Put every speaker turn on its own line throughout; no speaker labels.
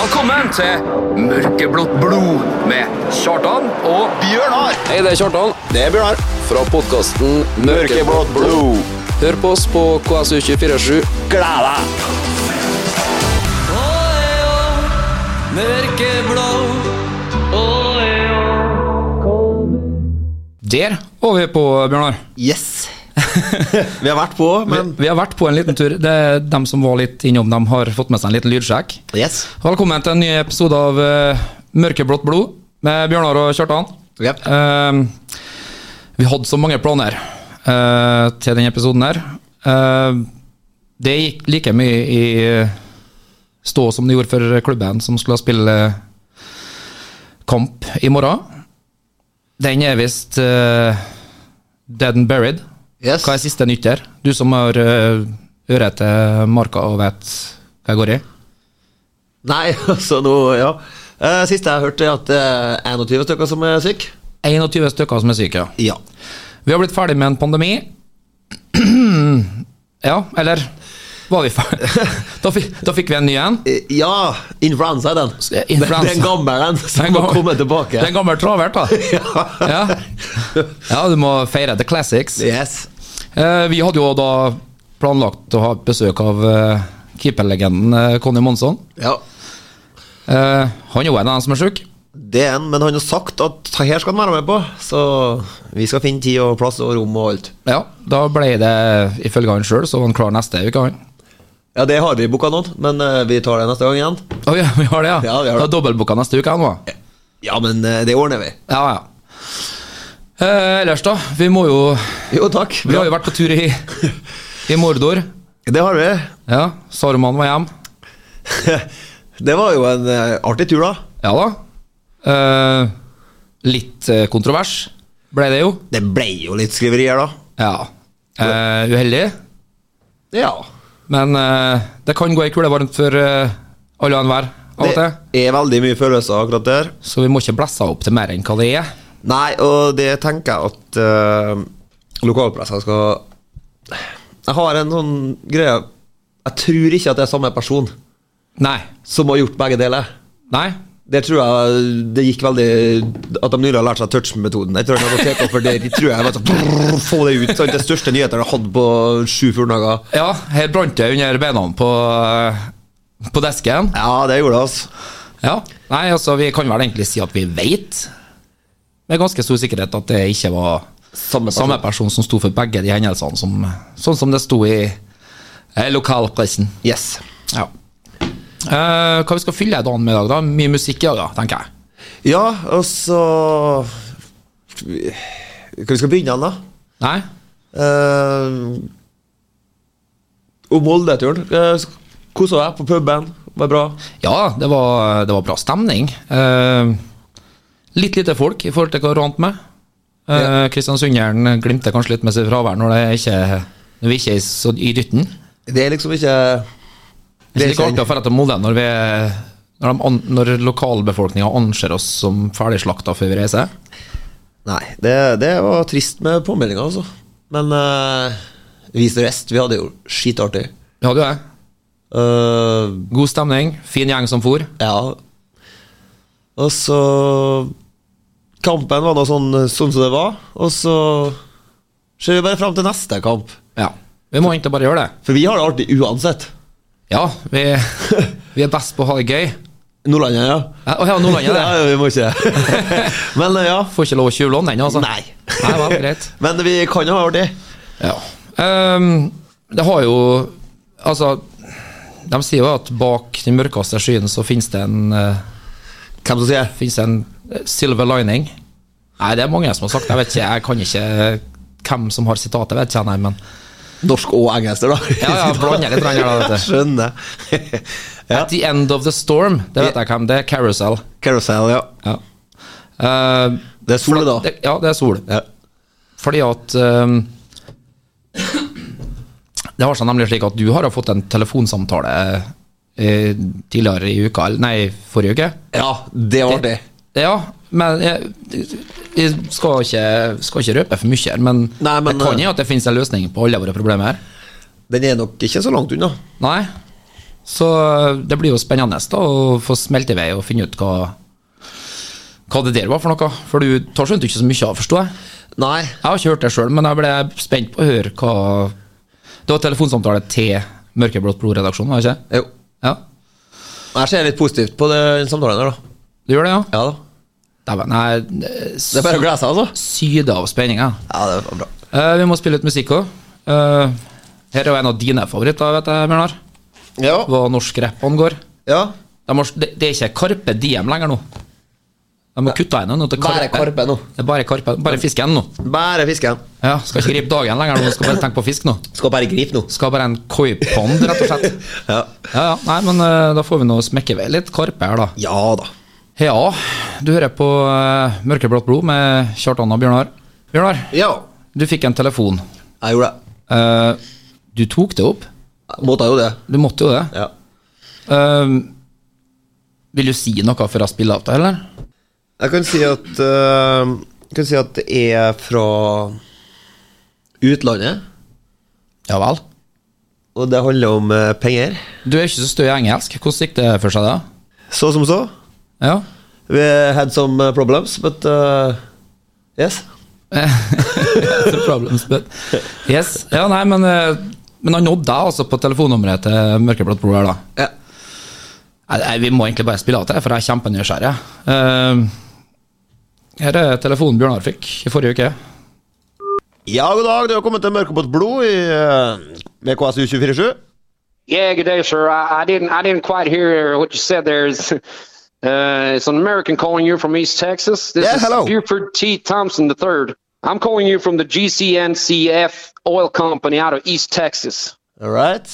Velkommen til Mørkeblått blod med Kjartan og
Bjørnar
Hei, det er Kjartan.
Det er Bjørnar
Fra podkasten
Mørkeblått blod
Hør på oss på KSU247.
Gled deg
Der var vi på, Bjørnar.
Yes Vi har vært på, men
Vi har vært på en liten tur. Det er dem som var litt innom dem, har fått med seg en liten lydsjekk.
Yes
Velkommen til en ny episode av eh, Mørkeblått blod med Bjørnar og Kjartan.
Jep.
Eh, vi hadde så mange planer eh, til denne episoden her. Eh, det gikk like mye i eh, stå som det gjorde for klubben som skulle spille eh, kamp i morgen. Den er visst eh, dead and buried.
Yes
Hva er siste nytt her? Du som har eh, øre til marka og vet hva jeg går i.
Nei, altså nå, ja Eh, Siste jeg hørte er at det er 21 stykker som er syk
21 stykker som er syke. ja.
Ja
Vi har blitt ferdig med en pandemi. ja, eller var vi ferdig? da, fikk, da fikk vi en ny en.
Eh, Ja, influensa er den
Eh, influensa.
Den gammel den
Den
som må
gammel-
komme tilbake
Den gamle travert, da. ja. ja, du må feire the classics.
Yes
Eh, vi hadde jo da planlagt å ha besøk av eh, keeperlegenden eh, Conny Monsson.
Ja
Eh, han er jo en av dem som er syk.
det er en, men han har sagt at her skal han være med på Så vi skal finne tid og plass og rom og alt
Ja, da ble det ifølge han sjøl, så var han klar neste uke, han.
Ja, det har vi boka nå, men eh, vi tar det neste gang igjen
Å ja, vi har det, ja?
Ja, vi har det.
Da dobbeltbooka neste uke, han var.
Ja, men eh, det ordner vi
Ja, ja. Eh, ellers, da. Vi må jo
Jo, takk.
Vi har jo vært på tur i, i Mordor.
Det har vi.
Ja, Saruman var hjem.
Det var jo en eh, artig tur, da.
Ja da. Eh, litt eh, kontrovers ble det jo.
Det ble jo litt skriverier, da.
Ja. Eh, uheldig.
Ja.
Men eh, det kan gå ei kule varmt for eh, alle og enhver av og til.
Det er veldig mye følelser akkurat der.
Så vi må ikke blæsse opp til mer enn hva det er.
Nei, og det tenker jeg at uh, lokalpressa skal Jeg har en sånn greie Jeg tror ikke at det er samme person
Nei.
som har gjort begge deler.
Nei.
Det tror jeg det gikk veldig At de nylig har lært seg touch-metoden. Jeg tror jeg hadde tatt over der. Jeg tror jeg var sånn, brrr, Få det ut. Sant? Det største nyheter jeg har hatt på sju-fjorten dager.
Ja, her brant det under beina på, eh, på desken.
Ja, det gjorde det, altså.
Ja. Nei, altså, vi kan vel egentlig si at vi veit med ganske stor sikkerhet at det ikke var
Samme person.
samme person som sto for begge de hendelsene, som, sånn som det sto i eh, lokalpressen.
Yes.
Ja. Eh, hva vi skal fylle dagen med i dag, da? Mye musikk i dag, da, tenker jeg.
Ja, og så Skal vi skal vi skal begynne den, da?
Nei?
Uh, om Molde-turen. Uh, Kosa deg på puben. Var bra.
Ja, det var, det var bra stemning. Eh, litt lite folk i forhold til hva du vant med. Uh, Kristiansunderen glimter kanskje litt med sitt fravær når, det ikke, når vi ikke er så i dytten.
Det er liksom ikke
Det er
det
ikke
er
artig å dra til Molde når, vi, når, de, an- når lokalbefolkninga anser oss som ferdigslakta før vi reiser.
Nei, det, det var trist med påmeldinga, altså. Men eh, vis til rest. Vi hadde jo skitartig.
Vi hadde jo det.
Uh,
God stemning, fin gjeng som for.
ja. Og så Kampen var nå sånn sånn som det var. Og så ser vi bare fram til neste kamp.
Ja. Vi må egentlig bare gjøre det.
For vi har det artig uansett.
Ja, vi, vi er best på å ha det gøy.
Nordlandet, ja.
Ja, Å ja, Nordlandet, det.
Nei, vi må ikke Men eh, ja.
Får ikke lov å tjuvlåne den, altså.
Nei.
Nei, vel, greit.
Men vi kan jo ha artig.
Ja. Ehm, det har jo Altså, de sier jo at bak den mørkeste skyen så finnes det en eh,
Hvem som sier
Finnes det en eh, silver lining? Nei, det er mange som har sagt det. Jeg vet ikke, jeg kan ikke hvem som har sitatet, vet ikke jeg, nei, men
norsk og engelsk, da?
Ja, ja, blander litt, blander da, vet du.
Skjønner. ja.
At the end of the storm, det vet jeg hvem, det er Carousel.
Carousel, ja.
Ja. Eh,
Det er sol, da.
det, ja, det er sol.
Ja.
Fordi at eh, Det har seg nemlig slik at du har jo fått en telefonsamtale eh, tidligere i uka, eller nei, forrige uke.
ja, det var artig.
Ja, men jeg, jeg skal, ikke, skal ikke røpe for mye her, men,
Nei, men,
det kan
eh,
jo at det finnes en løsning på alle våre problemer her.
Den er nok ikke så langt unna.
Nei, Så eh, det blir jo spennende da, å få smelte i vei og finne ut hva, hva det der var for noe. For du tar skjønte ikke så mye av, forstår jeg.
Nei.
Jeg har ikke hørt det sjøl, men jeg ble spent på å høre hva Det var telefonsamtale til Mørkeblått blod-redaksjonen, var det ikke?
Jo.
Ja,
Jeg ser litt positivt på den samtalen her, da.
du gjør det, ja?
Ja da.
Dæven, jeg eh,
Det er bare å glede seg, altså.
syder av spenning, jeg.
Ja, det var bra.
Eh, vi må spille litt musikk òg. her er jo en av dine favoritter, vet jeg, Bjørnar.
Ja.
Hva norsk rap angår.
ja.
De har, det, det er ikke Karpe Diem lenger nå. De har kutta inn noe til
Bare Karpe nå.
Det er bare Karpe, bare fisken nå.
Bare fisken.
Ja, Skal ikke gripe dagen lenger nå, skal bare tenke på fisk nå.
Skal bare gripe nå.
Skal bare en koipond, rett og slett.
Ja.
Ja, ja, Nei, men eh, da får vi nå smekke ved litt Karpe her, da.
ja da.
Ja, du hører på eh, Mørkeblått blod med Kjartan og Bjørnar. Bjørnar,
Ja.
du fikk en telefon.
Jeg gjorde det.
Eh, du tok det opp?
Jeg Måtte jo det.
Du måtte jo det.
Ja.
Ehm, vil du si noe før jeg spiller av det, eller?
Jeg kan si at eh, Jeg kan si at det er fra utlandet,
Ja vel.
og det handler om eh, penger.
Du er ikke så stø i engelsk. Hvordan gikk det for seg da?
Så som så.
Ja.
We had some eh, problems, but eh, yes.
The problems, but Yes. Ja, nei, men, eh, men han nådde deg altså på telefonnummeret til Mørkeblått blod her, da.
Ja.
Nei, nei, vi må egentlig bare spille av det, for jeg er kjempenysgjerrig. Ehm, her er telefonen Bjørnar fikk i forrige uke.
Ja, god dag. Du har kommet til Mørkebåt Blod i, eh, med KSU 247.
Yeah, good day, sir. I, I didn't I didn't quite hear what you said there. It's, uh, it's an American calling you from East Texas. This
Yeah,
is
hello.
Buford T. Thompson III. I'm calling you from the GCNCF oil company out of East Texas.
All right.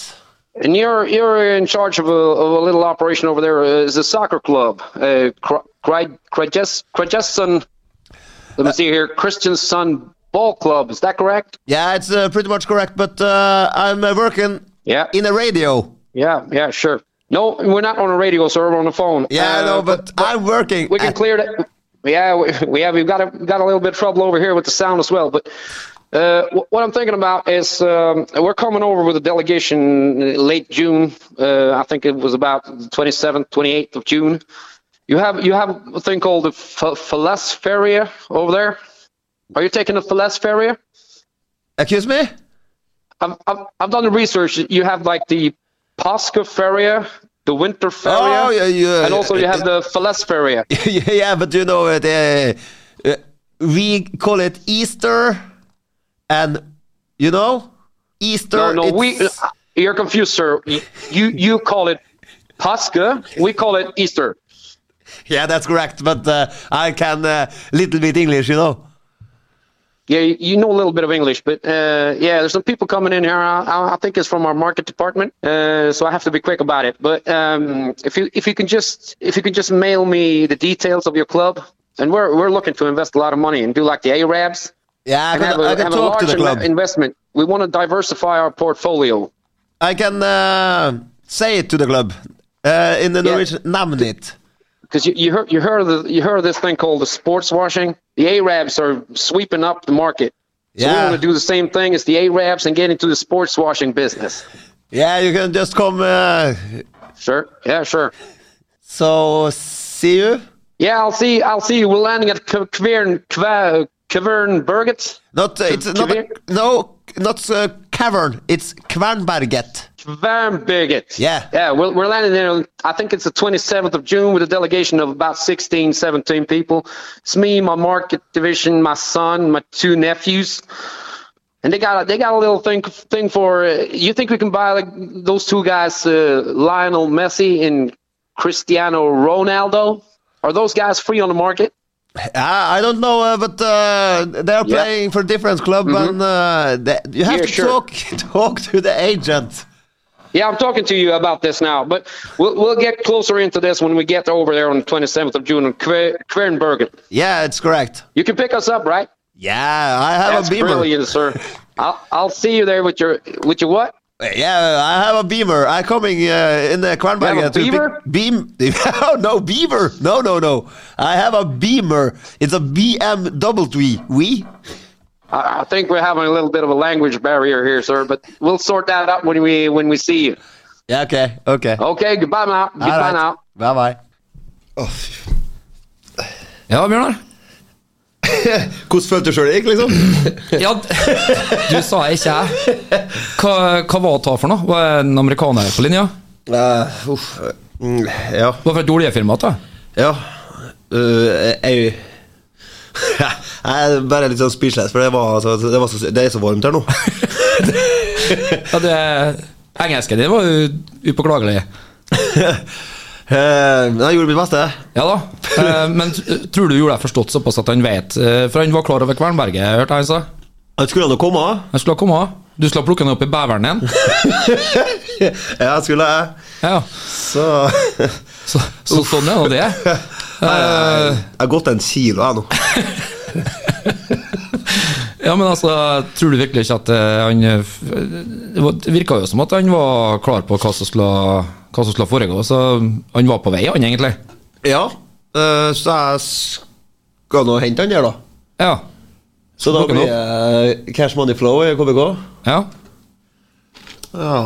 And you're you're in charge of a, of a little operation over there. Uh, It's a soccer club. Uh, Kra- Kra- Krajes- Krajesson-
Uh,
let me see here. Christian Sun Ball Club. Is that correct?
Yeah, it's uh, pretty much correct, but uh, I'm uh, working
Yeah.
in a radio.
Yeah. Yeah. Sure. No, we're not on the radio, sir. We're on the phone.
Yeah,
Uh,
I know, Eh, but, I'm working.
we can
at-
clear that. Yeah, we, we have. We've got a got a little bit of trouble over here with the sound as well. But uh, wh- what I'm thinking about is um, we're coming over with a delegation uh, late June. Uh, I think it was about the 27th, 28th of June. You have you have a thing called the F- Falas Feria over there. Are you taking the Falas Feria?
Excuse me?
I've, I've, I've done the research. You have like the Pascha Feria, the Winter Feria,
Oh, yeah, yeah.
and also you have the Falas Feria.
yeah, but you know it. Uh, uh, we call it Easter, and you know, Easter.
No, no, we. uh,
it's-
You're confused, sir. You you call it Pascha. We call it Easter.
Yeah, that's correct. But uh, I can uh, little bit English, you know.
Yeah, you- you know a little bit of English, but uh, yeah, there's some people coming in here. I, I- I think it's from our market department, uh, so I have to be quick about it. But um, if you if you can just if you can just mail me the details of your club, and we're we're looking to invest a lot of money and do like the Arabs
Yeah, I
and have
can,
a,
I can
have a
talk
large
to the
inve-
club.
investment. We want to diversify our portfolio.
I can uh, say it to the club uh, in the
Yeah.
Norwegian. Namnit.
because you, you heard you heard of the, you heard of this thing called the sports washing. The Arabs are sweeping up the market. So we
Yeah.
want to do the same thing as the Arabs and get into the sports washing business.
Yeah, you can just come. Uh,
Sure. Yeah, sure.
so see you.
Yeah, I'll see I'll see you. We're landing at K- Kvern Kva- Kvern Berget.
Not uh, it's not a,
Kvern-
no not uh, cavern. It's Kvernberget.
Kvern Berget.
Yeah.
Yeah, we're, we're landing there. I think it's the 27th of June with a delegation of about 16, 17 people. It's me, my market division, my son, my two nephews. And they got a, they got a little thing thing for. Uh, you think we can buy like those two guys, uh, Lionel Messi and Cristiano Ronaldo? Are those guys free on the market?
I, I don't know, uh, but uh, they're
Yeah. Mm-hmm.
playing for different club, and uh, they, you have
Yeah,
to
sure.
talk talk to the agent.
Yeah, I'm talking to you about this now, but we'll we'll get closer into this when we get over there on the 27th of June in Kver- Kvernbergen.
Yeah, it's correct.
You can pick us up, right?
Yeah, I have
That's
a beamer.
brilliant, sir. I'll, I'll see you there with your with your what?
Yeah, I have a beamer. I coming uh, in the Kronberg
You have a
to
beamer?
pick- beam. oh no, beaver. No, no, no. I have a beamer. It's a BMW. We.
I, I think we're having a little bit of a language barrier here, sir, but we'll sort that out when we when we see you.
Yeah, okay, okay.
Okay, goodbye now. Goodbye
All right. Bye
now.
bye.
Å, fy.
Ja, Bjørnar?
Hvordan følte du sjøl det gikk, liksom?
Ja, du sa ikke jeg. Hva, hva var det for noe? Var det en amerikaner på linja?
Eh, uff. Mm, ja.
Var det fra et oljefirma? da?
Ja. Eh, jeg Jeg er bare litt sånn speechless, for det, var, altså, det, var så, det er så varmt her nå.
Ja, det, engelsken din var jo upåklagelig.
Eh, men jeg gjorde mitt beste.
Ja da. Eh, men t- tror du gjorde deg forstått såpass at han vet? eh, For han var klar over Kvernberget, hørte jeg han sa.
Jeg skulle nå komme.
Han skulle ha kommet. Du skulle ha plukket han opp i beveren igjen.
Ja, jeg skulle jeg.
Ja,
Så
så, så sånn er nå det. Eh,
Jeg har gått en kilo, jeg nå.
Ja, men altså, tror du virkelig ikke at eh, han eh, f- Det var- det virka jo som at han var klar på hva som skulle, hva som skulle foregå, så han var på vei, han egentlig.
Ja, eh, så jeg skal nå hente han der, da.
Ja.
Så da
Plukke han
blir det cash money flow i KBK.
Ja.
Ja,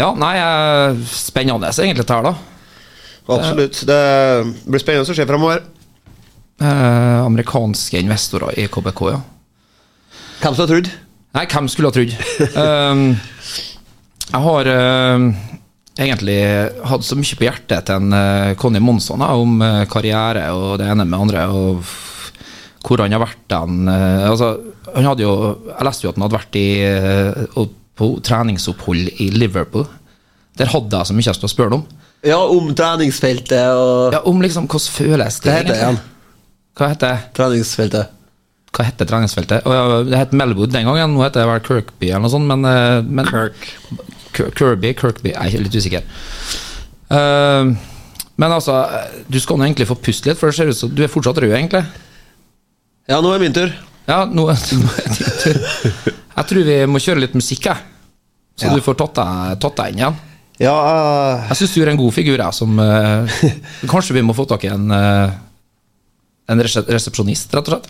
ja nei, eh, spennende egentlig, det her, da.
absolutt. Det blir spennende å se fremover.
Eh, amerikanske investorer i KBK, ja.
Hvem som har trodd?
Nei, hvem skulle ha trodd? Ehm, jeg har ehm, egentlig hatt så mye på hjertet til en eh, Conny Monsson da, om eh, karriere og det ene med det andre. Og f- hvor han har vært den eh, altså, han hadde jo, Jeg leste jo at han hadde vært i, eh, opp- på treningsopphold i Liverpool. Der hadde jeg så mye jeg skulle spørre om.
Ja, om treningsfeltet og
Ja, om liksom, Hvordan føles det?
Hva heter det igjen?
egentlig? Hva heter det?
Treningsfeltet.
hva heter treningsfeltet? Å ja, det het Melwood den gangen, nå heter det vel Kirkby eller noe sånt, men, eh, men Kirk- Kirby, Kirkby, jeg er litt usikker. Eh, men altså, du skal nå egentlig få puste litt, for det ser ut som du er fortsatt rød, egentlig.
Ja, nå er min tur.
Ja, nå, nå er det din tur. Jeg tror vi må kjøre litt musikk, jeg. Så
Ja.
du får tatt deg, tatt deg inn igjen.
Ja, eh,
Jeg syns du er en god figur, jeg, som eh, Kanskje vi må få tak i en, eh, en resep- resepsjonist, rett og slett.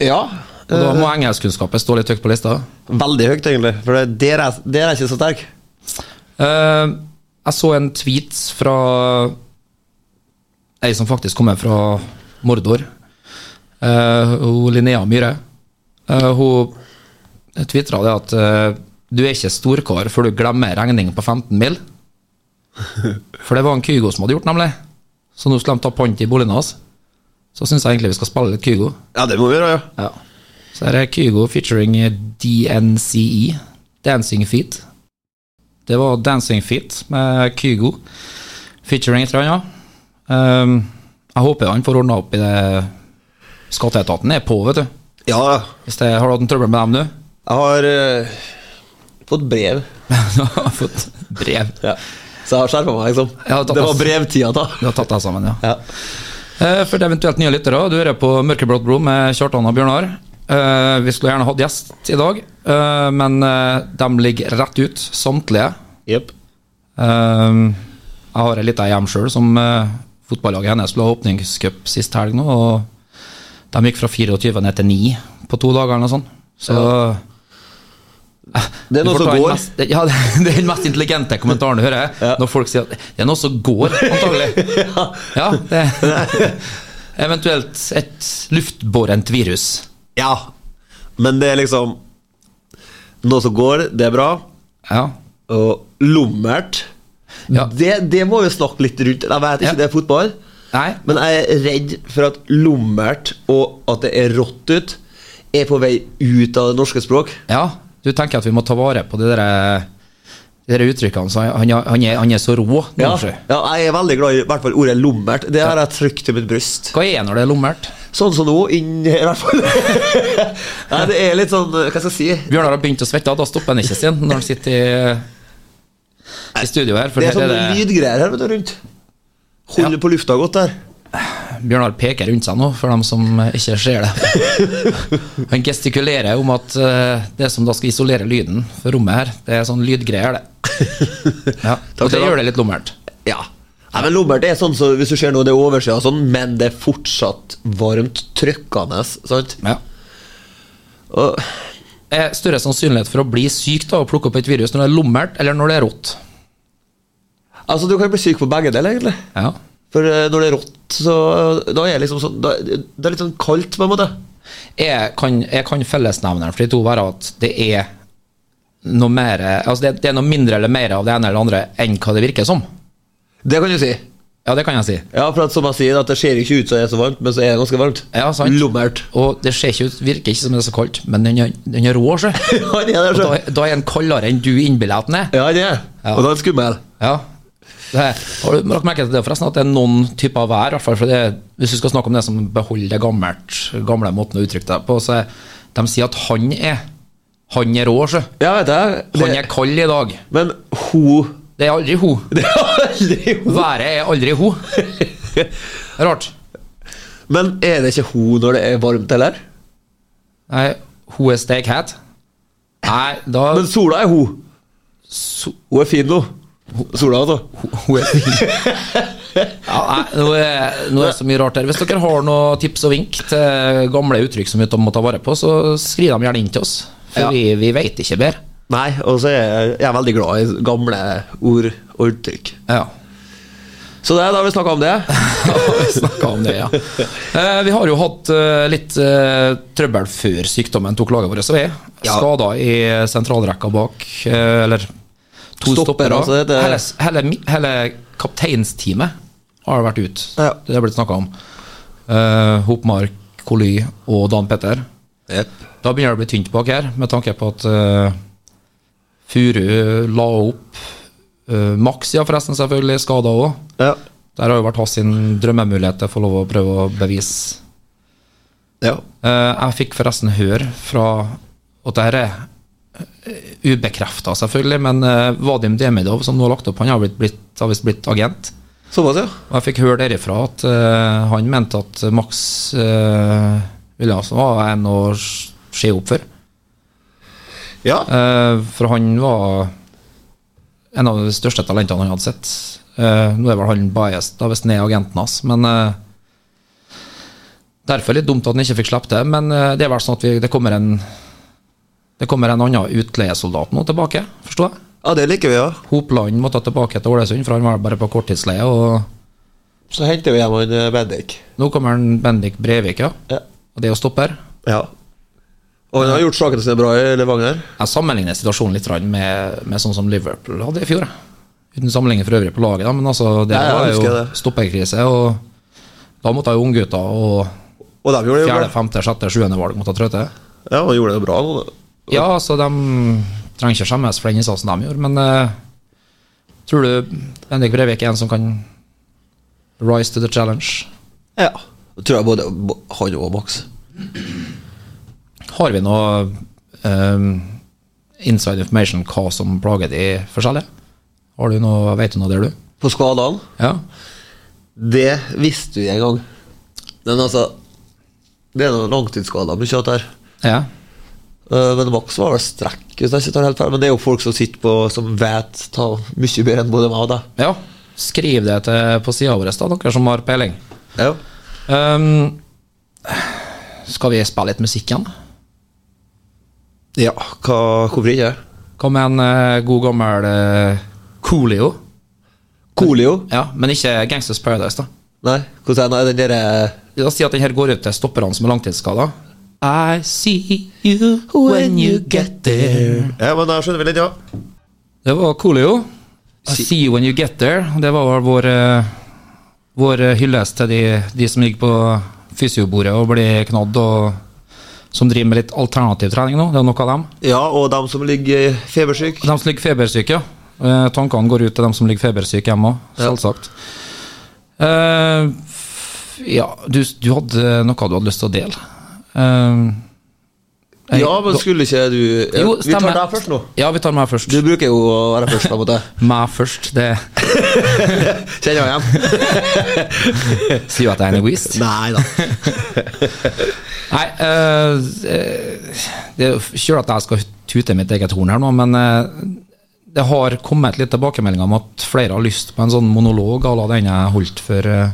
ja.
Og da må engelskkunnskapet stå litt høyt på lista.
Veldig høyt, egentlig. For det- der er, der er ikke så sterk.
Eh, jeg så en tweet fra ei som faktisk kommer fra Mordor. Eh, hun Linnea Myhre. Eh, hun tvitra det at eh, du er ikke storkar før du glemmer regning på 15 mil. For det var en Kygo som hadde gjort, nemlig. Så nå skulle de ta pant i boligen hans. Så syns jeg egentlig vi skal spille litt Kygo.
Ja, det må vi gjøre, ja.
Ja. Så her er Kygo featuring DNCE, E, Dancing Feet. Det var Dancing Feet med Kygo featuring et eller annet. Um, jeg håper han får ordna opp i det. Skatteetaten er på, vet du.
Ja, ja.
Hvis det, har du hatt en trøbbel med dem, du?
Jeg har eh, fått brev.
Du har fått brev.
Ja. Så jeg har skjerpa meg, liksom.
Ja, da-
det var brevtida da.
Du har tatt deg sammen, ja.
Ja.
Eh, For de eventuelt nye lyttere, du hører på Mørkeblått blod med Kjartan og Bjørnar. Eh, Vi skulle gjerne hatt gjest i dag, eh, men eh, de ligger rett ut, samtlige. Ehm, jeg har ei lita hjem sjøl som eh, fotballaget hennes skulle ha åpningscup sist helg nå. Og de gikk fra 24 ned til 9 på to dager eller noe sånt. Så
Det er
du
noe
får
som
ta den
går.
Mest, ja, det, det er den mest intelligente kommentaren du hører. eh, Når folk sier at det er noe som går, antagelig. ja, det Eventuelt et luftbårent virus.
Ja. Men det er liksom Noe som går, det er bra.
Ja.
Og lummert
Ja.
det, det må vi snakke litt rundt. Jeg vet ikke
Ja.
det er fotball,
Nei.
men jeg er redd for at lummert og at det er rått ut, er på vei ut av det norske språk.
Ja, du tenker at vi må ta vare på de der, de der uttrykkene. Så han, han, er, han er så rå.
Ja.
Nordsjø.
ja, Jeg er veldig glad i i hvert fall ordet lummert. Det har jeg trykt til mitt bryst.
Hva er når det er lommert?
Sånn som nå, inn i hvert fall. Nei, det er litt sånn Hva skal jeg si?
Bjørnar har begynt å svette, og da stopper han ikke sin når han sitter i, i studio her. For
Det er sånn
her
sånne
er det,
lydgreier her, vet du, rundt. Holder på lufta godt der.
Bjørnar peker rundt seg nå, for dem som ikke ser det. Han gestikulerer om at eh, det som da skal isolere lyden for rommet her, det er sånn lydgreier, det. Ja.
Takk
Og det
skal du ha.
gjør det litt lommert.
Ja. Nei, men Lommert er sånn, så hvis du ser nå, det er oversida og sånn, men det er fortsatt varmt trykkende. Sant?
Ja.
Og,
Er større sannsynlighet for å bli syk da, og plukke opp et virus når det er lommert, eller når det er rått?
Altså, du kan bli syk på begge deler, egentlig.
Ja.
For eh, når det er rått, så Da er det liksom sånn da, Det er litt sånn kaldt, på en måte.
Jeg kan, jeg kan fellesnevneren for de to være at det er noe mer Altså det, det er noe mindre eller mer av det ene eller det andre enn hva det virker som.
Det kan du si.
Ja, det kan jeg si.
Ja, for at, som jeg sier, at det ser ikke ut som det er så varmt, men så er det ganske varmt.
Ja, sant.
Lummert.
Og det ser ikke ut, virker ikke som det er så kaldt, men den er, den er rå, sjø.
Ja, det er det,
Og
sjø.
Da, da er den kaldere enn du innbiller at den er.
Ja, det er
Ja.
Og da er det skummel.
Ja. Det er, har du lagt merke til det forresten, at det er noen typer av vær, i hvert fall for det, hvis du skal snakke om det som beholder det gammelt, gamle måten å uttrykke deg på, så er- de sier at han er Han er rå, sjø.
Ja, vet jeg.
Han
Det,
er kald i dag.
men hun
Det er aldri hun.
Det er aldri hun.
Været er aldri hun. Rart.
Men er det ikke hun når det er varmt, heller?
Nei, hun er steikhet. Nei, da
Men sola er hun. Hun er fin nå. Sola, altså.
Hun er ja, nei, nå, er, nå er det så mye rart her. Hvis dere har noen tips og vink til gamle uttrykk som vi må ta vare på, så skriv dem gjerne inn til oss. For
Ja.
vi, vi veit ikke bedre.
Nei, og så er jeg, jeg er veldig glad i gamle ord og uttrykk.
Ja.
Så det, da har vi snakka om det.
vi snakket om det, ja. Eh, vi har jo hatt eh, litt eh, trøbbel før sykdommen tok laget vårt, så vi er
Ja.
skader i sentralrekka bak. eh, eller to
Stopper,
stoppere.
altså, det- det-
Hele, hele, mi- hele kapteinsteamet har vært ute.
Ja.
Det er blitt snakka om. Eh, Hopmark, Koly og Dan Petter. Da begynner det å bli tynt bak her, med tanke på at eh, Furu la opp. Uh, Maxia, forresten, selvfølgelig, skada òg.
Ja.
Der har jo vært hans sin drømmemulighet til å få lov å prøve å bevise.
ja.
Eh, jeg fikk forresten høre fra Og dette er eh, ubekrefta, selvfølgelig, men eh, Vadim Demidov, som nå har lagt opp, han har blitt, blitt, har visst blitt agent.
Såpass, ja.
Og jeg fikk høre derifra at eh, han mente at Max uh, Williamsen var en å se opp for.
Ja.
Eh, for han var en av de største talentene han hadde sett. Eh, nå er vel han biased, da, hvis han er agenten hans, men eh, Derfor litt dumt at han ikke fikk slippe det, men eh, det er vel sånn at vi, det kommer en Det kommer en annen utleiesoldat nå tilbake, forstår jeg.
ja, det liker vi, ja.
Hopland måtte tilbake til Ålesund, for han var bare på korttidsleie. Og
Så henter vi hjem han eh, Bendik.
nå kommer han Bendik Brevik, ja.
Ja.
Og det er jo stopper.
ja. Og han har gjort sakene sine bra i Levanger.
Jeg sammenligner situasjonen litt grann med, med sånn som Liverpool hadde i fjor. jeg. Uten sammenligning for øvrig på laget, da, men altså, det
Ja, jeg
var
husker
jo
det.
stopperkrise. Og da måtte jo unggutta og
Og de gjorde det jo
fjerde,
bra.
femte, sjette, sjuende valg måtte trø til.
Ja, han gjorde det jo bra nå. da.
Ja, altså, de trenger ikke skjemmes for den innsatsen de gjorde, men eh, tror du Bendik Brevik er en som kan rise to the challenge?
Ja. Det tror jeg både bo- han og Max.
Har vi noe eh, inside information hva som plager de forskjellige? Har du noe, vet du noe der, du?
På skadene
Ja.
Det visste vi en gang. Men altså Det er noen langtidsskader mye av det her.
ja.
Eh, Men Max var vel strekk, hvis jeg ikke tar helt feil. Men det er jo folk som sitter på Som vet ta mye bedre enn både meg og deg.
Ja, skriv det til, på sida vår, da, dere som har peiling.
Ja.
Ehm, skal vi spille litt musikk igjen?
ja hva, hvorfor ikke?
Hva med en eh, god gammel uh, Coolio?
Coolio?
Ja, men ikke Gangsters Paradise, da.
Nei, hvordan er den- eh, den derre
La oss si at den her går ut til stopperne som er langtidsskada. I see you when you get there.
Ja, men da skjønner vi litt, ja.
Det var Coolio. I see you when you get there. Det var vel vår, eh, vår eh, hyllest til de, de som ligger på fysiobordet og blir knadd, og som driver med litt alternativ trening nå. Det er nok av dem.
Ja, og dem som ligger febersyk
De som ligger febersyke, ja. Eh, tankene går ut til dem som ligger febersyke hjemme òg, selvsagt. Eh, f- ja, du, du hadde noe du hadde lyst til å dele. Eh, jeg-
Ja, men skulle ikke du ja,
Jo,
Vi tar
stemmer.
deg først nå.
Ja, vi tar meg først.
Du bruker jo å være først, på en måte.
Meg først, det
Kjenner jeg igjen?
sier jo at jeg er en egoist.
Nei da.
Nei, eh, eh, det er jo selv at jeg skal tute mitt eget horn her nå, men eh, det har kommet litt tilbakemeldinger om at flere har lyst på en sånn monolog à la den jeg holdt for, eh,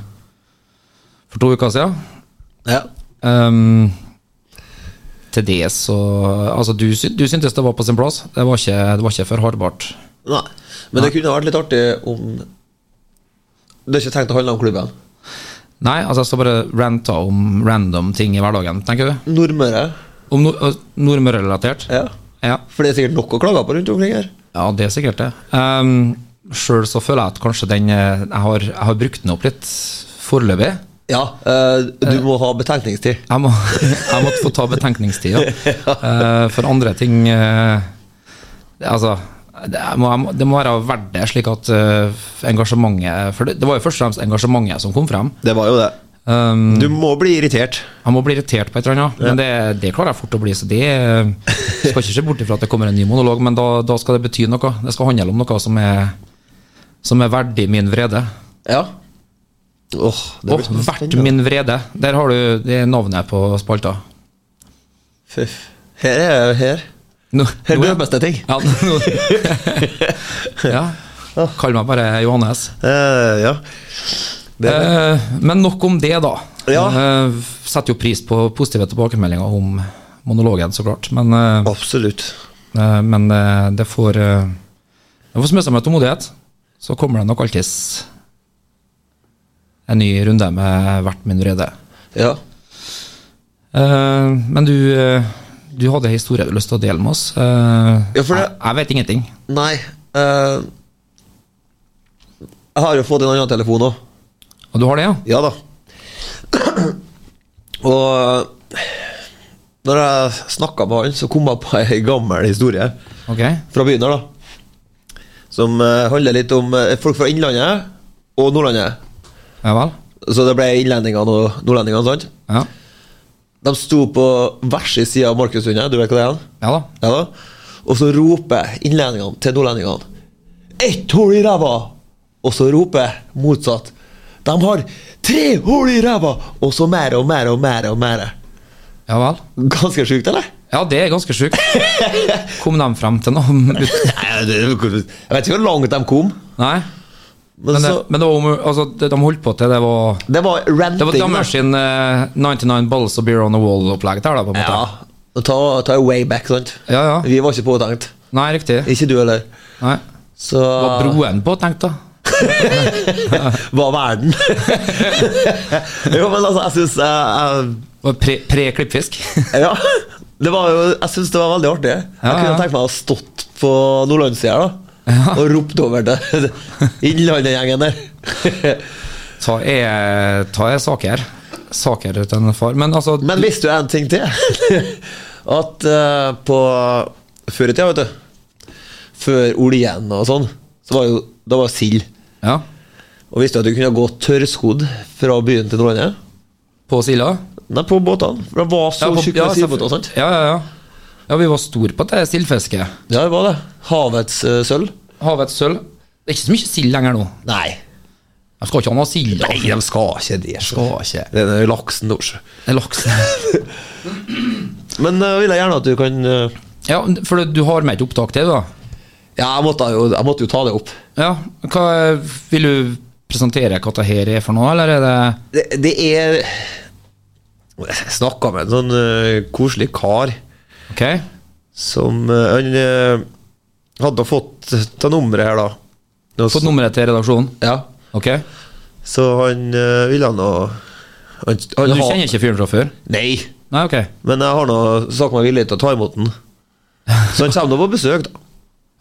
for to uker siden.
Ja.
Ehm, til det så Altså, du, sy- du syntes det var på sin plass. Det var ikke, det var ikke for hardbart.
Nei. Men det kunne vært litt artig om Du har ikke tenkt å holde navn klubben?
Nei, altså jeg skal bare rante om random ting i hverdagen, tenker du?
Nordmøre?
Om nor øh, Nordmøre-relatert?
Ja.
ja.
For det er sikkert nok å klage på rundt omkring her.
Ja, det er sikkert det. Um, Sjøl så føler jeg at kanskje den eh, jeg har, jeg har brukt den opp litt foreløpig.
Ja, eh, du må ha betenkningstid.
Jeg, må, jeg måtte få ta betenkningstid, ja. Eh, for andre ting eh, Altså, det må, jeg må- det må være verdt det, slik at eh, engasjementet For det, det var jo først og fremst engasjementet som kom frem.
Det var jo det.
Um,
Du må bli irritert.
jeg må bli irritert på et eller annet, men det, det klarer jeg fort å bli. Så det eh, skal ikke se bort ifra at det kommer en ny monolog, men da, da skal det bety noe. Det skal handle om noe som er, som er verdig min vrede.
Ja. Åh, det
Åh,
blir spennende.
verdt min vrede. Der har du det er navnet på spalta.
Fyff. Her er her.
Nå,
Her
nå-
drømmes det ting.
Ja, nå- ja. Kall meg bare Johannes.
Eh, ja. Det er det.
Eh, men nok om det, da.
Ja.
Eh, setter jo pris på positive tilbakemeldinger om monologen, så klart. Men, eh,
Absolutt.
eh, men eh, det får eh, Det får smøre seg med tålmodighet. Så kommer det nok alltids en ny runde med hvert min vrede.
Ja.
Eh, men du, eh, du hadde en historie du hadde lyst til å dele med oss. Eh,
Ja, for det-
jeg, jeg vet ingenting.
Nei eh, Jeg har jo fått en annen telefon òg.
Og du har det, ja?
Ja da. Og når jeg snakka med han, så kom jeg på ei gammel historie
Ok.
fra byen her, da. Som eh, handler litt om eh, folk fra Innlandet og Nordlandet.
Ja vel?
Så det ble innlendingene og nordlendingene, sant?
Ja.
De sto på hver sin side av Markussundet, du vet hva det er?
ja da.
Ja da. Og så roper innlendingene til nordlendingene Ett hull i ræva! Og så roper motsatt. De har tre hull i ræva! Og så mer og mer og mer og mer.
Ja vel?
Ganske sjukt, eller?
Ja, det er ganske sjukt. Kom de frem til noe om ut-
Nei, det- Jeg vet ikke hvor langt de kom.
Nei.
Men,
Men, det,
så,
men det var om, altså, det, de holdt på til det var
det var ranting.
Det var
da.
Dammers sin eh, 99 Balls of Beer on the Wall-opplegg der, da, på en måte.
Ja. Ta, ta way back, sant?
Ja, ja.
Vi var ikke påtenkt.
Nei, riktig.
Ikke du heller.
Nei.
Så
Var broen på, tenkt, da?
var verden. jo, men altså, jeg eh, syns
Var pre- Pre-klippfisk?
Ja. Det var jo, jeg syns det var veldig artig.
Ja,
Jeg kunne
ja.
tenkt meg å ha stått på nordlandssida da,
Ja.
og ropt over til Innlandet-gjengen der.
Ta er, ta er saker. Saker til en far. Men altså
Men visste du en ting til? At eh, på før i tida, vet du Før oljen og sånn, så var jo da var sild.
Ja.
Og visste du at du kunne gå tørrskodd fra byen til Nordlandet?
På Sila?
Nei, på båtene. For de var så
på-
tjukke med
selvfø-
sildbåter og sånt.
Ja, ja, ja. Ja, vi var store på det sildfisket.
Ja, det var det. Havets eh, sølv?
Havets sølv. Det er ikke så mye sild lenger nå.
Nei.
Jeg skal ikke ha noe sild.
Nei, de skal ikke det.
Skal ikke.
Det er den laksen, da.
Det er laks.
Men uh, vil jeg gjerne at du kan eh,
Ja, for du har med et opptak til, da?
Ja, jeg måtte, jo, jeg måtte jo ta det opp.
Ja. Hva, vil du presentere hva det her er for noe, eller er det
Det, det er Jeg snakka med en sånn eh, koselig kar
Ok?
som eh, Han eh, hadde fått ta nummeret her, da. Nå s-
Fått nummeret til redaksjonen?
Ja.
Ok?
Så han eh, ville nå han, han
Men du
ha-
kjenner ikke fyren fra før?
Nei,
Nei, ok.
men jeg har nå sagt meg villig til å ta imot den. Så han kommer nå på besøk, da.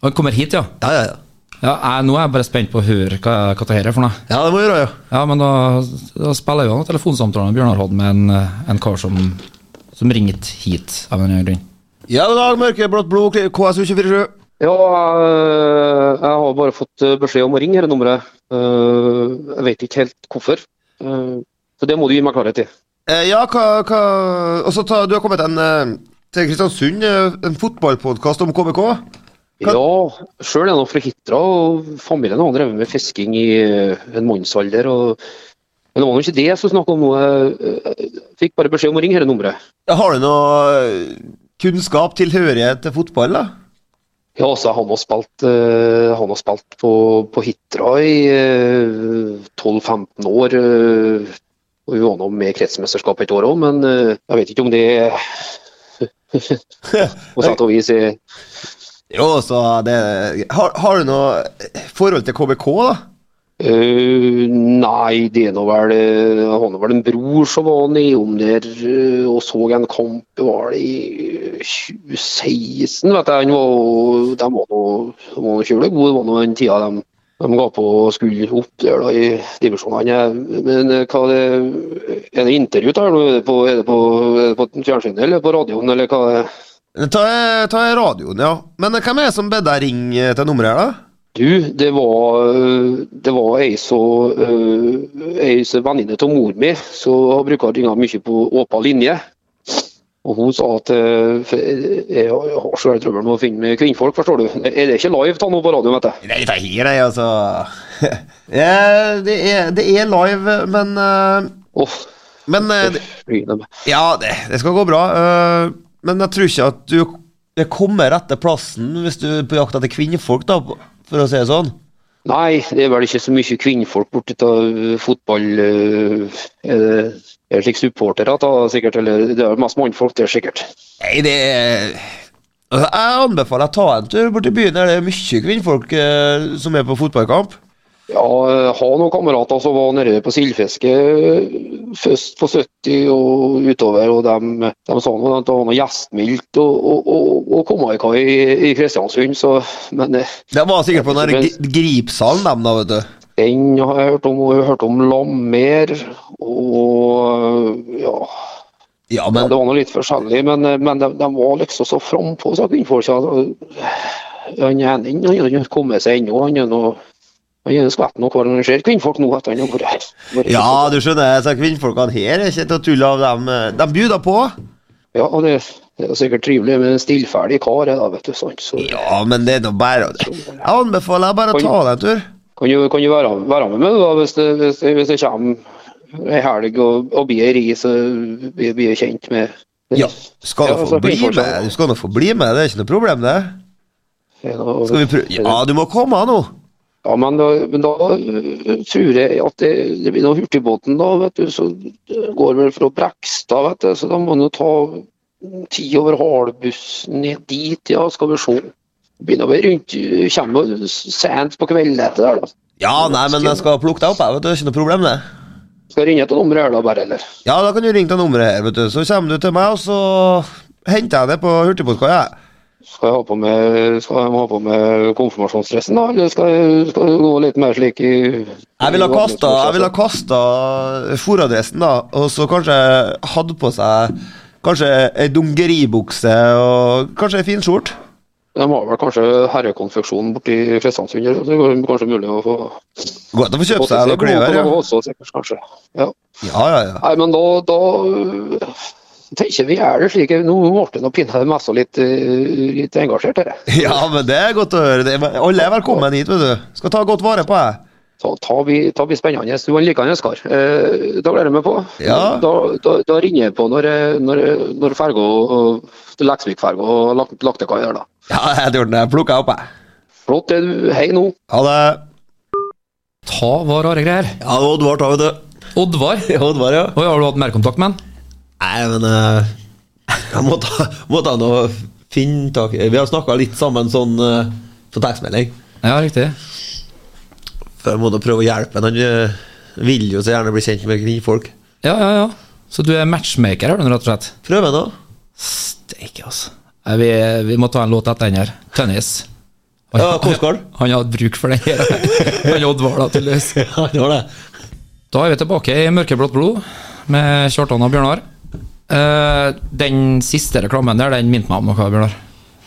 Han kommer hit, ja?
Ja, ja, ja.
ja jeg, nå er jeg bare spent på å høre hva, hva det her er for noe.
Ja, det må jeg gjøre, ja.
Ja, men da, da spiller jo telefonsamtalen Bjørnar hadde med en, eh, en kar som, som ringte hit av en eller annen grunn.
Ja, god dag, mørke, blått blod, KSU247.
Ja, eh, jeg har bare fått eh, beskjed om å ringe dette nummeret. Eh, Jeg vet ikke helt hvorfor. Eh, Så det må du gi meg klarhet i.
Eh, ja, hva, hva Og så ta- du har kommet en, eh, til Kristiansund, eh, en fotballpodkast om KBK. Kan-
Ja, sjøl er jeg nå fra Hitra, og familien har drevet med fisking i eh, en mannsalder. Og... Men det var nå ikke det jeg skulle snakke om nå. Jeg eh, fikk bare beskjed om å ringe dette nummeret.
Har du noe eh, kunnskap, tilhørighet til fotball, da?
Ja, altså, han har spilt, eh, han har spilt på, på Hitra i eh, 12-15 år. eh, og Vi var nå med i kretsmesterskapet et år òg, men eh, jeg vet ikke om det på sett og vis er
eh,
Jo, så det har, har du noe forhold til KBK, da?
Eh, nei, det er nå vel eh, Han har vel en bror som var nedom der eh, og så en kamp var det i eh, 2016, vet jeg. Han var, de var nå de var nå kjølig gode, det var nå den tida de, de ga på og skulle opp der da, i divisjonene. Men eh, hva det, er det intervju der nå? Er det på, er det på, er det på fjernsynet eller på radioen, eller hva? er det?
Ta, ta radioen, ja. Men eh, hvem er det som ber deg
eh,
ringe til nummeret her, da?
Du, det var, øh, det var ei så øh, ei så venninne av mor mi som bruker å ringe mye på åpen linje. Og hun sa at øh, for jeg jeg har så veldig trøbbel med å finne med kvinnfolk, forstår du. Er det ikke live ta nå på radioen, vet jeg.
Nei, det er her, nei, altså. ja, det, er, det er live, men eh,
Åh,
Men eh, det-
fryne meg.
Ja, det, det skal gå bra. eh, men jeg tror ikke at du det kommer rett til plassen hvis du er på jakt etter kvinnfolk, da, for å si det sånn.
Nei, det er vel ikke så mye kvinnfolk borti av eh, fotball... øh, Er det, er det slik supportere da, sikkert? Eller det er mest mannfolk, det er sikkert.
Nei, det er Altså, Jeg anbefaler å ta en tur bort til byen. Der det er mye kvinnfolk eh, som er på fotballkamp.
Ja, jeg har noen kamerater som var nede på sildfiske først på 70 og utover, og de, de sa noe, at det var noe gjestmildt og, og, og, og komme i kai i- i Kristiansund, så Men eh,
De var sikkert på den der gri- gripsalen, dem, da, vet du.
den har jeg hørt om, og jeg har hørt om Lammer og ja.
Ja,
ja,
men
Det var noe litt forskjellig, men, eh, men de, de var liksom så frampå, sa kvinnfolka. Han ene han har ikke kommet seg ennå, han er nå han er skvetten av hver gang han ser kvinnfolk nå. etter han har vært- vært-
Ja, du skjønner, så kvinnfolkene her er ikke til å tulle av dem. eh, De bjuder på.
Ja, og det det er sikkert trivelig med en stillferdig kar. Da, vet du, sant? Så
Ja, men det er nå bare å Jeg anbefaler deg bare å ta deg en tur.
kan du, kan du være, være med meg da, hvis det, hvis det, hvis det kommer ei helg og, og blir ei ri, så blir blir jeg kjent med
Ja, skal
Ja,
du
altså,
få bli
kvinnfolk,
med? Du skal nå få bli med, det er ikke noe problem, det. Skal vi prøve Ja, du må komme nå!
Ja, men da, men da øh, tror jeg at det, det blir noe hurtigbåten da, vet du, så går vel fra Brekstad, vet du, så da må man jo ta ti over halvbussen ned dit, ja, skal vi se. Begynner vel rundt, øh, kommer jo sent på kvelden etter der da.
Ja, nei, men jeg skal plukke deg opp, jeg, vet du. Det er ikke noe problem, det.
Skal jeg ringe til nummeret her da bare, eller?
Ja, da kan du ringe til nummeret her, vet du. Så kommer du til meg, og så henter jeg det på hurtigbåtkaia.
Skal jeg ha på meg, skal jeg ha på meg konfirmasjonsdressen da, eller skal jeg, skal jeg gå litt mer slik i...
Jeg ville ha kasta, jeg ville ha kasta fôradressen, da, og så kanskje hatt på seg kanskje ei dungeribukse og kanskje ei fin skjorte.
De har vel kanskje herrekonfeksjonen borti Kristiansund, eller? så det går kanskje mulig å få...
Godt å få
få
kjøpt
til
seg
seg
noe klær.
gode
Ja.
på noe Også, sikkert, kanskje. Ja.
ja, ja, ja.
Nei, men da, da øh, tenker vi er det slik, nå ble det pinnet mest og litt, øh, litt engasjert her.
Ja, men det er godt å høre. Det er- Alle er velkommen hit, vet du. Skal ta godt vare på deg.
Ta, ta, vi, ta vi spennende. Du var en likende kar. Eh, da gleder jeg meg på.
Ja.
Da, da, da ringer jeg på når, eh, når, når ferga og Leksvik-ferga og lagt- Laktekai er da.
Ja, jeg gjorde det. Plukka opp, jeg.
Flott, det du. Hei nå.
Ha det.
Ta var rare greier.
Ja, det var Oddvar, da, vet du.
Oddvar,
Ja, Oddvar, ja.
Oi, har du hatt nærkontakt med han?
Nei, men eh, jeg må ta, må ta noe finne tak i Vi har snakka litt sammen sånn eh, på tekstmelding.
Ja, riktig.
For jeg må da prøve å hjelpe ham. Han eh, vil jo så gjerne bli kjent med kvinnfolk.
Ja, ja, ja. Så du er matchmaker, er du, rett og slett?
Prøve nå.
Steike, altså. Nei, vi, vi må ta en låt etter den her. Tennis. Han,
Ja, Korsgård.
han hadde bruk for den her. Han Oddvar, da, tydeligvis.
Ja, han har det.
Da er vi tilbake i Mørkeblått blod med Kjartan og Bjørnar. Eh, den siste reklamen der, den minte meg om noe, Bjørnar.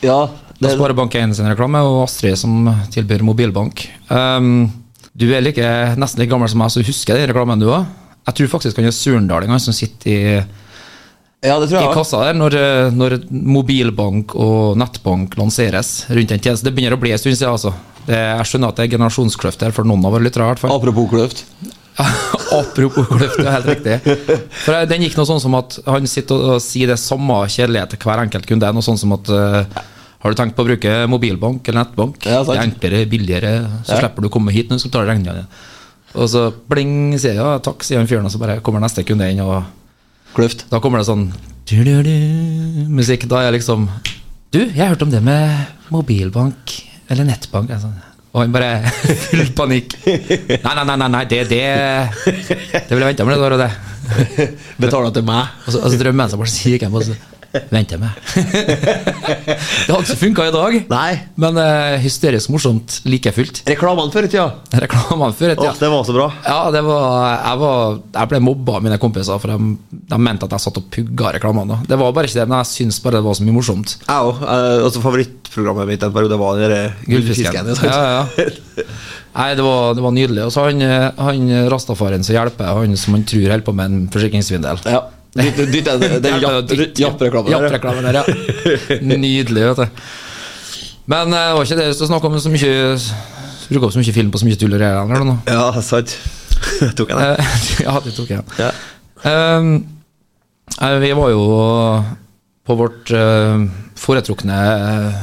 Ja,
Det
det,
er Sparebank 1 sin reklame, og Astrid som tilbyr mobilbank. Ehm, du er like, nesten like gammel som meg, så du husker den reklamen du òg. Jeg tror faktisk han er surndalingen han som sitter i,
ja, det tror
i
jeg. også.
kassa der når, eh, når mobilbank og nettbank lanseres rundt den tjenesten. Det begynner å bli en stund siden, altså. Det, jeg skjønner at det er generasjonskløft her for noen av våre lyttere. i hvert fall.
Apropos kløft.
Apropos kløft, det er helt riktig. For eh, Den gikk noe sånn som at han sitter og- og sier det samme kjedelige til hver enkelt kunde. Det er Noe sånn som at eh, har du tenkt på å bruke mobilbank eller nettbank?
Ja, sant.
det er enklere, billigere, så slipper du å komme hit når du skal ta regninga di. Og så bling, sier jeg ja, takk, sier han fyren, og så bare kommer neste kunde inn, og
Kløft.
da kommer det sånn du-du-du, musikk. Da er jeg liksom Du, jeg hørte om det med mobilbank eller nettbank. Jeg er sånn, Og han bare full panikk. Nei, nei, nei, nei, nei det, det Det ville jeg venta med det der og det.
Betaler til meg.
Og så, og så drømmer han seg bort, så kikker han på og så venter jeg meg. det hadde ikke funka i dag,
Nei.
men eh, hysterisk morsomt like fullt.
Reklamene før i tida.
Reklamene før i
Åh,
tida.
det var så bra.
Ja, det var, jeg, var, jeg ble mobba av mine kompiser, for de, de mente at jeg satt og pugga reklamene. da. Det var bare ikke det, men jeg syns bare det var så mye morsomt.
Jeg òg.
Eh,
Altså, favorittprogrammet mitt en periode var den der
Gullfisken.
gullfisken.
liksom.
Ja, ja. Nei, det var, det var nydelig. Og så han, eh, han rastafaren som hjelper, han som han tror holder på med en forsikringssvindel.
Ja. Dytt, dytt, den den
Hjelper å
japp-
dytte-
japp-reklamen der, ja.
Jappreklamen der, ja. Nydelig, vet du. Men eh, det var ikke det å snakke om så mye Bruke opp så mye film på så mye tull og greier. eller noe.
Ja, sant. Tok jeg den?
Eh, ja, det tok jeg.
Ja.
Ehm, eh, vi var jo på vårt eh, foretrukne eh,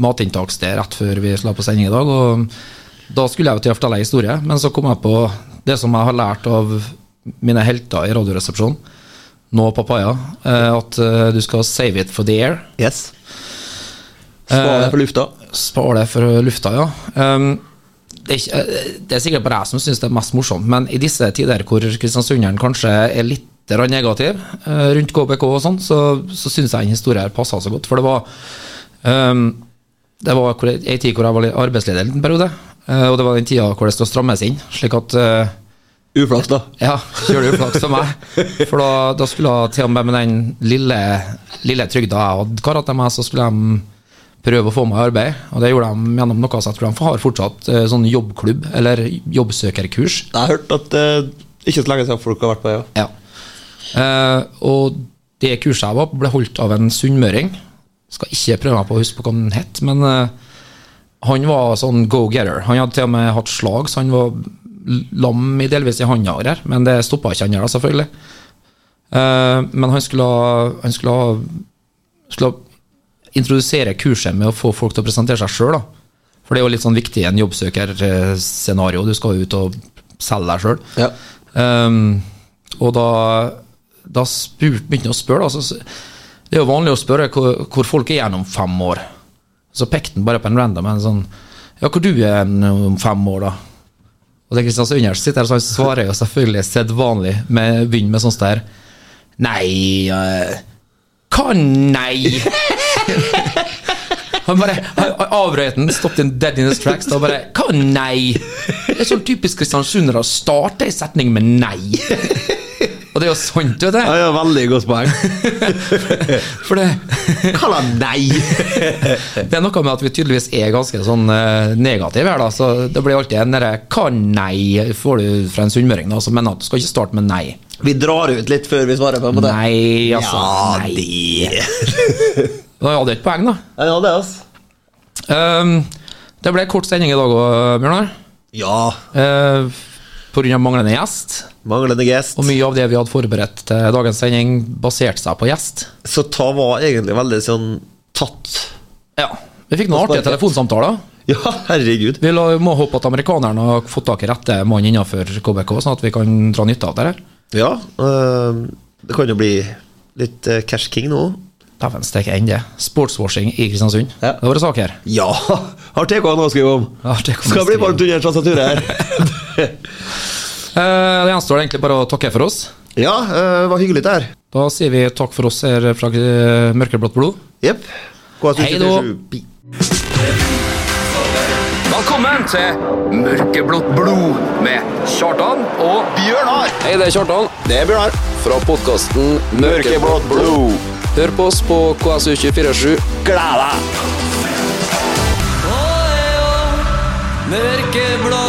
matinntakssted rett før vi slapp på sending i dag. Og da skulle jeg jo til å fortelle en historie, men så kom jeg på det som jeg har lært av mine helter i Radioresepsjonen, nå Papaya, eh, at eh, du skal save it for the air.
Yes.
Spar
Eh.
deg på lufta.
Spar det for lufta, ja. Ehm, det, er ikke, eh, det er sikkert bare jeg som syns det er mest morsomt, men i disse tider hvor kristiansunderen kanskje er litt grann negativ eh, rundt KBK og sånn, så, så syns jeg den historien her passa så godt. For det var ehm, Det var hvor- en tid hvor jeg var litt arbeidsledig en liten periode, eh, og det var den tida hvor det skal strammes inn, slik at eh,
Uflaks, da.
ja, kjører uflaks for meg. For da, da skulle jeg til og med med den lille, lille trygda jeg hadde kara til meg, så skulle de prøve å få meg i arbeid. Og det gjorde de gjennom noe sett, for de har fortsatt eh, sånn jobbklubb, eller jobbsøkerkurs.
Jeg har hørt at eh, ikke så lenge siden folk har vært på det. Ja.
Ja. Eh, og det kurset jeg var på, ble holdt av en sunnmøring. Skal ikke prøve meg på å huske på hva han het, men eh, han var sånn go-getter. Han hadde til og med hatt slag, så han var l- lam i delvis i handa, og greier, men det stoppa ikke han der, selvfølgelig. Eh, men han skulle, ha- han skulle, ha- skulle ha- introdusere kurset med å få folk til å presentere seg sjøl. For det er jo litt sånn viktig i en jobbsøkerscenario. Du skal jo ut og selge deg sjøl.
Ja.
Ehm, og da, da spurt, begynte han å spørre. Altså, så- det er jo vanlig å spørre hvor, hvor folk er gjennom fem år. Så pekte han bare på en random en sånn Ja, hvor du er en om fem år, da? Og det er Kristiansund sitter her, så han svarer jo selvfølgelig sedvanlig, med begynner med sånn sånt der Nei eh, Hva nei? Han bare han- han avbrøt den, stoppet den dead in his tracks og bare Hva nei? Det er sånn typisk kristiansundere å starte en setning med nei. Og det er jo sant, vet
Ja,
du.
ja, veldig godt poeng.
For det
Kall han nei!
Det er noe med at vi tydeligvis er ganske sånn eh, negative her, da. Så det blir alltid en derre hva nei får du fra en sunnmøring, da, som mener at du skal ikke starte med nei.
Vi drar ut litt før vi svarer, på en måte.
Nei, altså.
Ja,
nei.
det
Da hadde jeg et poeng, da.
Ja, det, altså.
Ehm, det ble kort sending i dag òg, Bjørnar.
Ja.
Uh, Pga. manglende gjest.
Manglende gest.
Og mye av det vi hadde forberedt til dagens sending, baserte seg på gjest.
Så ta var egentlig veldig sånn tatt.
Ja. Vi fikk noen artige telefonsamtaler.
Ja, herregud.
Vi la- må håpe at amerikanerne har fått tak i rette mann innenfor KBK, sånn at vi kan dra nytte av det her.
Ja. øhm, det kan jo bli litt eh, cash king nå.
Dæven steike enn det. Sportswashing i Kristiansund.
Ja.
Det var det sak her.
Ja! Har TK noe å skrive om?
Har TK noe å
Skal bli
skrive om.
varmt under en tastaturet her.
Eh, Det gjenstår egentlig bare å takke for oss.
ja, øh, det var hyggelig det her.
Da sier vi takk for oss her fra eh, Mørkeblått blod.
Jepp.
Hei da.
Velkommen til Mørkeblått blod med Kjartan og
Bjørnar!
Hei, det er Kjartan
Det er Bjørnar.
fra podkasten Mørkeblått.
blod.
Hør på oss på KSU247.
Gled deg!
Mørkeblå